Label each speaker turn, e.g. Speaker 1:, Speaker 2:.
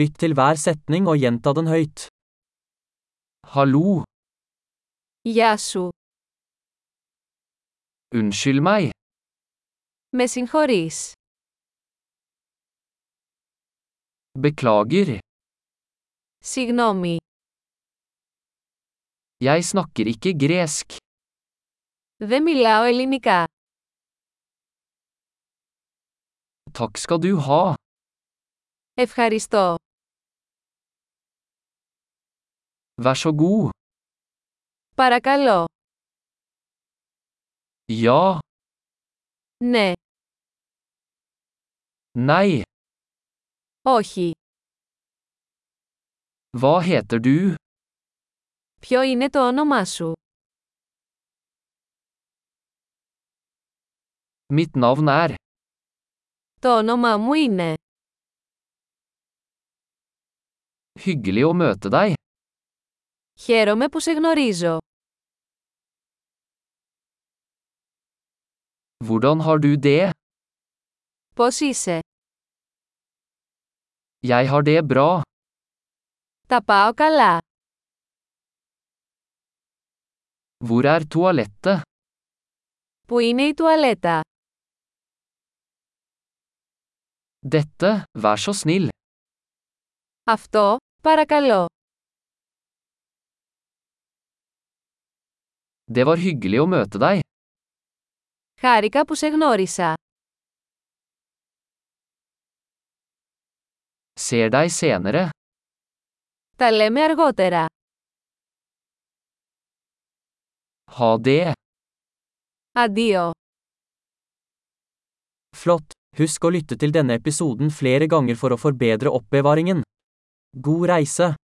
Speaker 1: Lytt til hver setning og gjenta den høyt. Hallo,
Speaker 2: Γεια σου.
Speaker 1: unnskyld meg,
Speaker 2: Με συγχωρείς.
Speaker 1: beklager,
Speaker 2: Συγγνώμη.
Speaker 1: jeg snakker ikke gresk.
Speaker 2: Δεν μιλάω ελληνικά.
Speaker 1: Takk skal du ha.
Speaker 2: Ευχαριστώ.
Speaker 1: Vær så god.
Speaker 2: Παρακαλώ.
Speaker 1: Ja,
Speaker 2: Ναι.
Speaker 1: nei,
Speaker 2: Όχι.
Speaker 1: hva heter du?
Speaker 2: Ποιο είναι το όνομά σου?
Speaker 1: Mitt navn er.
Speaker 2: Το όνομά μου είναι.
Speaker 1: Hyggelig å møte deg.
Speaker 2: Χαίρομαι που σε γνωρίζω.
Speaker 1: Hvordan har du det?
Speaker 2: Πώς είσαι?
Speaker 1: Jeg har det bra.
Speaker 2: Τα πάω καλά.
Speaker 1: Hvor er toalettet?
Speaker 2: Πού είναι η τουαλέτα?
Speaker 1: Dette, vær så snill.
Speaker 2: Αυτό, παρακαλώ.
Speaker 1: Det var hyggelig å møte deg.
Speaker 2: Χάρηκα που σε γνώρισα.
Speaker 1: Ser deg senere.
Speaker 2: Τα λέμε αργότερα.
Speaker 1: Ha det.
Speaker 2: Αντίο.
Speaker 1: Flott. Husk å lytte til denne episoden flere ganger for å forbedre oppbevaringen. God reise.